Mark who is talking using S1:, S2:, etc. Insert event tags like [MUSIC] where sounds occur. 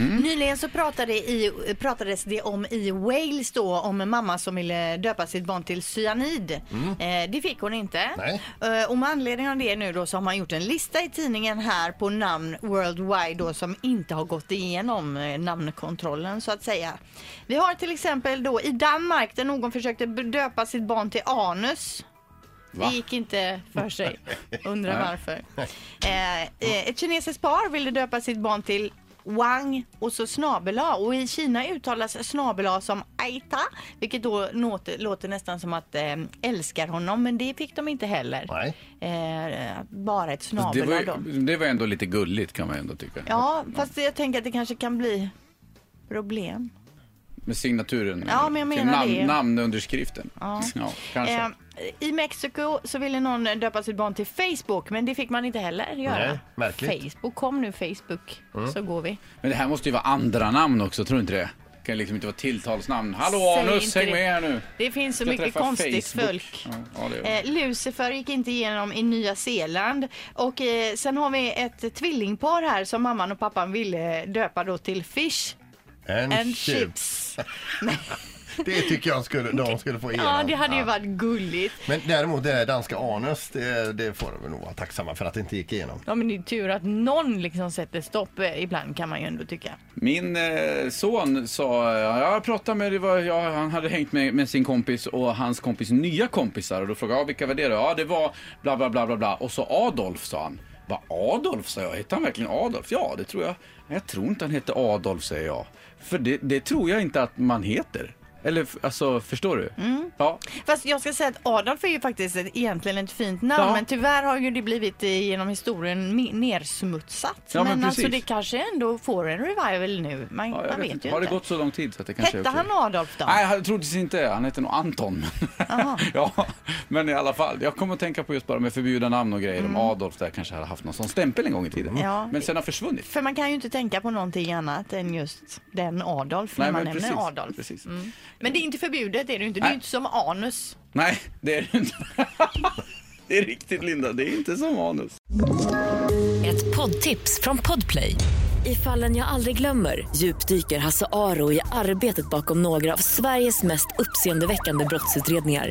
S1: Nyligen så pratade i, pratades det om i Wales då om en mamma som ville döpa sitt barn till cyanid. Eh, det fick hon inte.
S2: Nej.
S1: Eh, och med anledning av det nu då så har man gjort en lista i tidningen här på namn worldwide då som inte har gått igenom eh, namnkontrollen så att säga. Vi har till exempel då i Danmark där någon försökte b- döpa sitt barn till anus.
S3: Va?
S1: Det gick inte för sig. Undrar varför. Eh, eh, ett kinesiskt par ville döpa sitt barn till Wang och så snabela och i Kina uttalas snabela som Aita vilket då låter, låter nästan som att eh, älskar honom men det fick de inte heller.
S2: Nej.
S1: Eh, bara ett
S3: Det
S1: snabela
S3: var,
S1: då.
S3: ju- det var ändå lite gulligt kan man ändå tycka.
S1: Ja fast jag tänker att det kanske kan bli problem.
S3: Med signaturen.
S1: Ja, men jag
S3: Till
S1: menar
S3: namn,
S1: det.
S3: Namnunderskriften. [LAUGHS]
S1: Ja.
S3: kanske.
S1: Eh, I Mexiko så ville någon döpa sitt barn till Facebook men det fick man inte heller göra.
S2: Nej, märkligt.
S1: Facebook, kom nu Facebook så går vi.
S3: Men det här måste ju vara andra namn också, tror du inte det? Det kan liksom inte vara tilltalsnamn. Hallå
S1: Säg
S3: Anus,
S1: inte
S3: häng
S1: det.
S3: med här nu.
S1: Det finns så
S3: Ska
S1: mycket
S3: träffa
S1: konstigt
S3: Facebook.
S1: folk.
S3: Ja, ja, det gör det.
S1: Eh, Lucifer gick inte igenom i Nya Zeeland. Och eh, sen har vi ett tvillingpar här som mamman och pappan ville döpa då till Fish
S2: En
S1: and
S2: tjuv.
S1: Chips. Men,
S2: Det tycker jag skulle, de skulle få igenom.
S1: ja, det hade ju varit gulligt.
S2: Men däremot det där danska anus, det, det får de nog vara tacksamma för att det inte gick igenom.
S1: Ja, men det är tur att någon liksom sätter stopp eh, ibland kan man ju ändå tycka.
S3: Min eh, son sa, eh, jag pratade med, det var, ja, han hade hängt med, med sin kompis och hans kompis nya kompisar och då frågade jag, "Ja, vilka var det då? Ja, det var bla bla bla bla bla och så Adolf sa han. Vad Adolf sa jag, hette han verkligen Adolf? Ja, det tror jag. "Nej, Jag tror inte han hette Adolf säger jag. För det, det tror jag inte att man heter. Eller f- alltså, förstår du?
S1: Mm.
S3: Ja,
S1: Fast jag ska säga att Adolf är ju faktiskt ett, egentligen ett fint namn
S3: Ja.
S1: men tyvärr har ju det blivit eh, genom historien mi- nersmutsat.
S3: Ja, men
S1: alltså det
S3: precis.
S1: kanske ändå får en revival nu. Man,
S3: ja jag
S1: man
S3: vet
S1: vet
S3: inte.
S1: ju
S3: Har det
S1: inte.
S3: gått så lång tid så att det kanske
S1: Hette han Adolf då?
S3: Nej, han troddes inte. Han hette nog Anton.
S1: Jaha.
S3: [LAUGHS] ja, men i alla fall. Jag kommer att tänka på just bara med förbjudna namn och grejer. Om Adolf där kanske hade haft någon sån stämpel en gång i tiden.
S1: Mm. Ja.
S3: Men sen har försvunnit.
S1: För man kan ju inte tänka på någonting annat än just den Adolf när
S3: Nej,
S1: man
S3: men
S1: nämner
S3: precis,
S1: Adolf. Mm.
S3: precis.
S1: Men det är inte förbjudet, det är det ju inte. Det är ju
S3: Nej.
S1: inte som anus.
S3: Nej, det är det inte. [LAUGHS] det är riktigt Linda, det är inte som manus.
S4: Ett poddtips från Podplay. I fallen jag aldrig glömmer djupdyker Hasse Aro i arbetet bakom några av Sveriges mest uppseendeväckande brottsutredningar.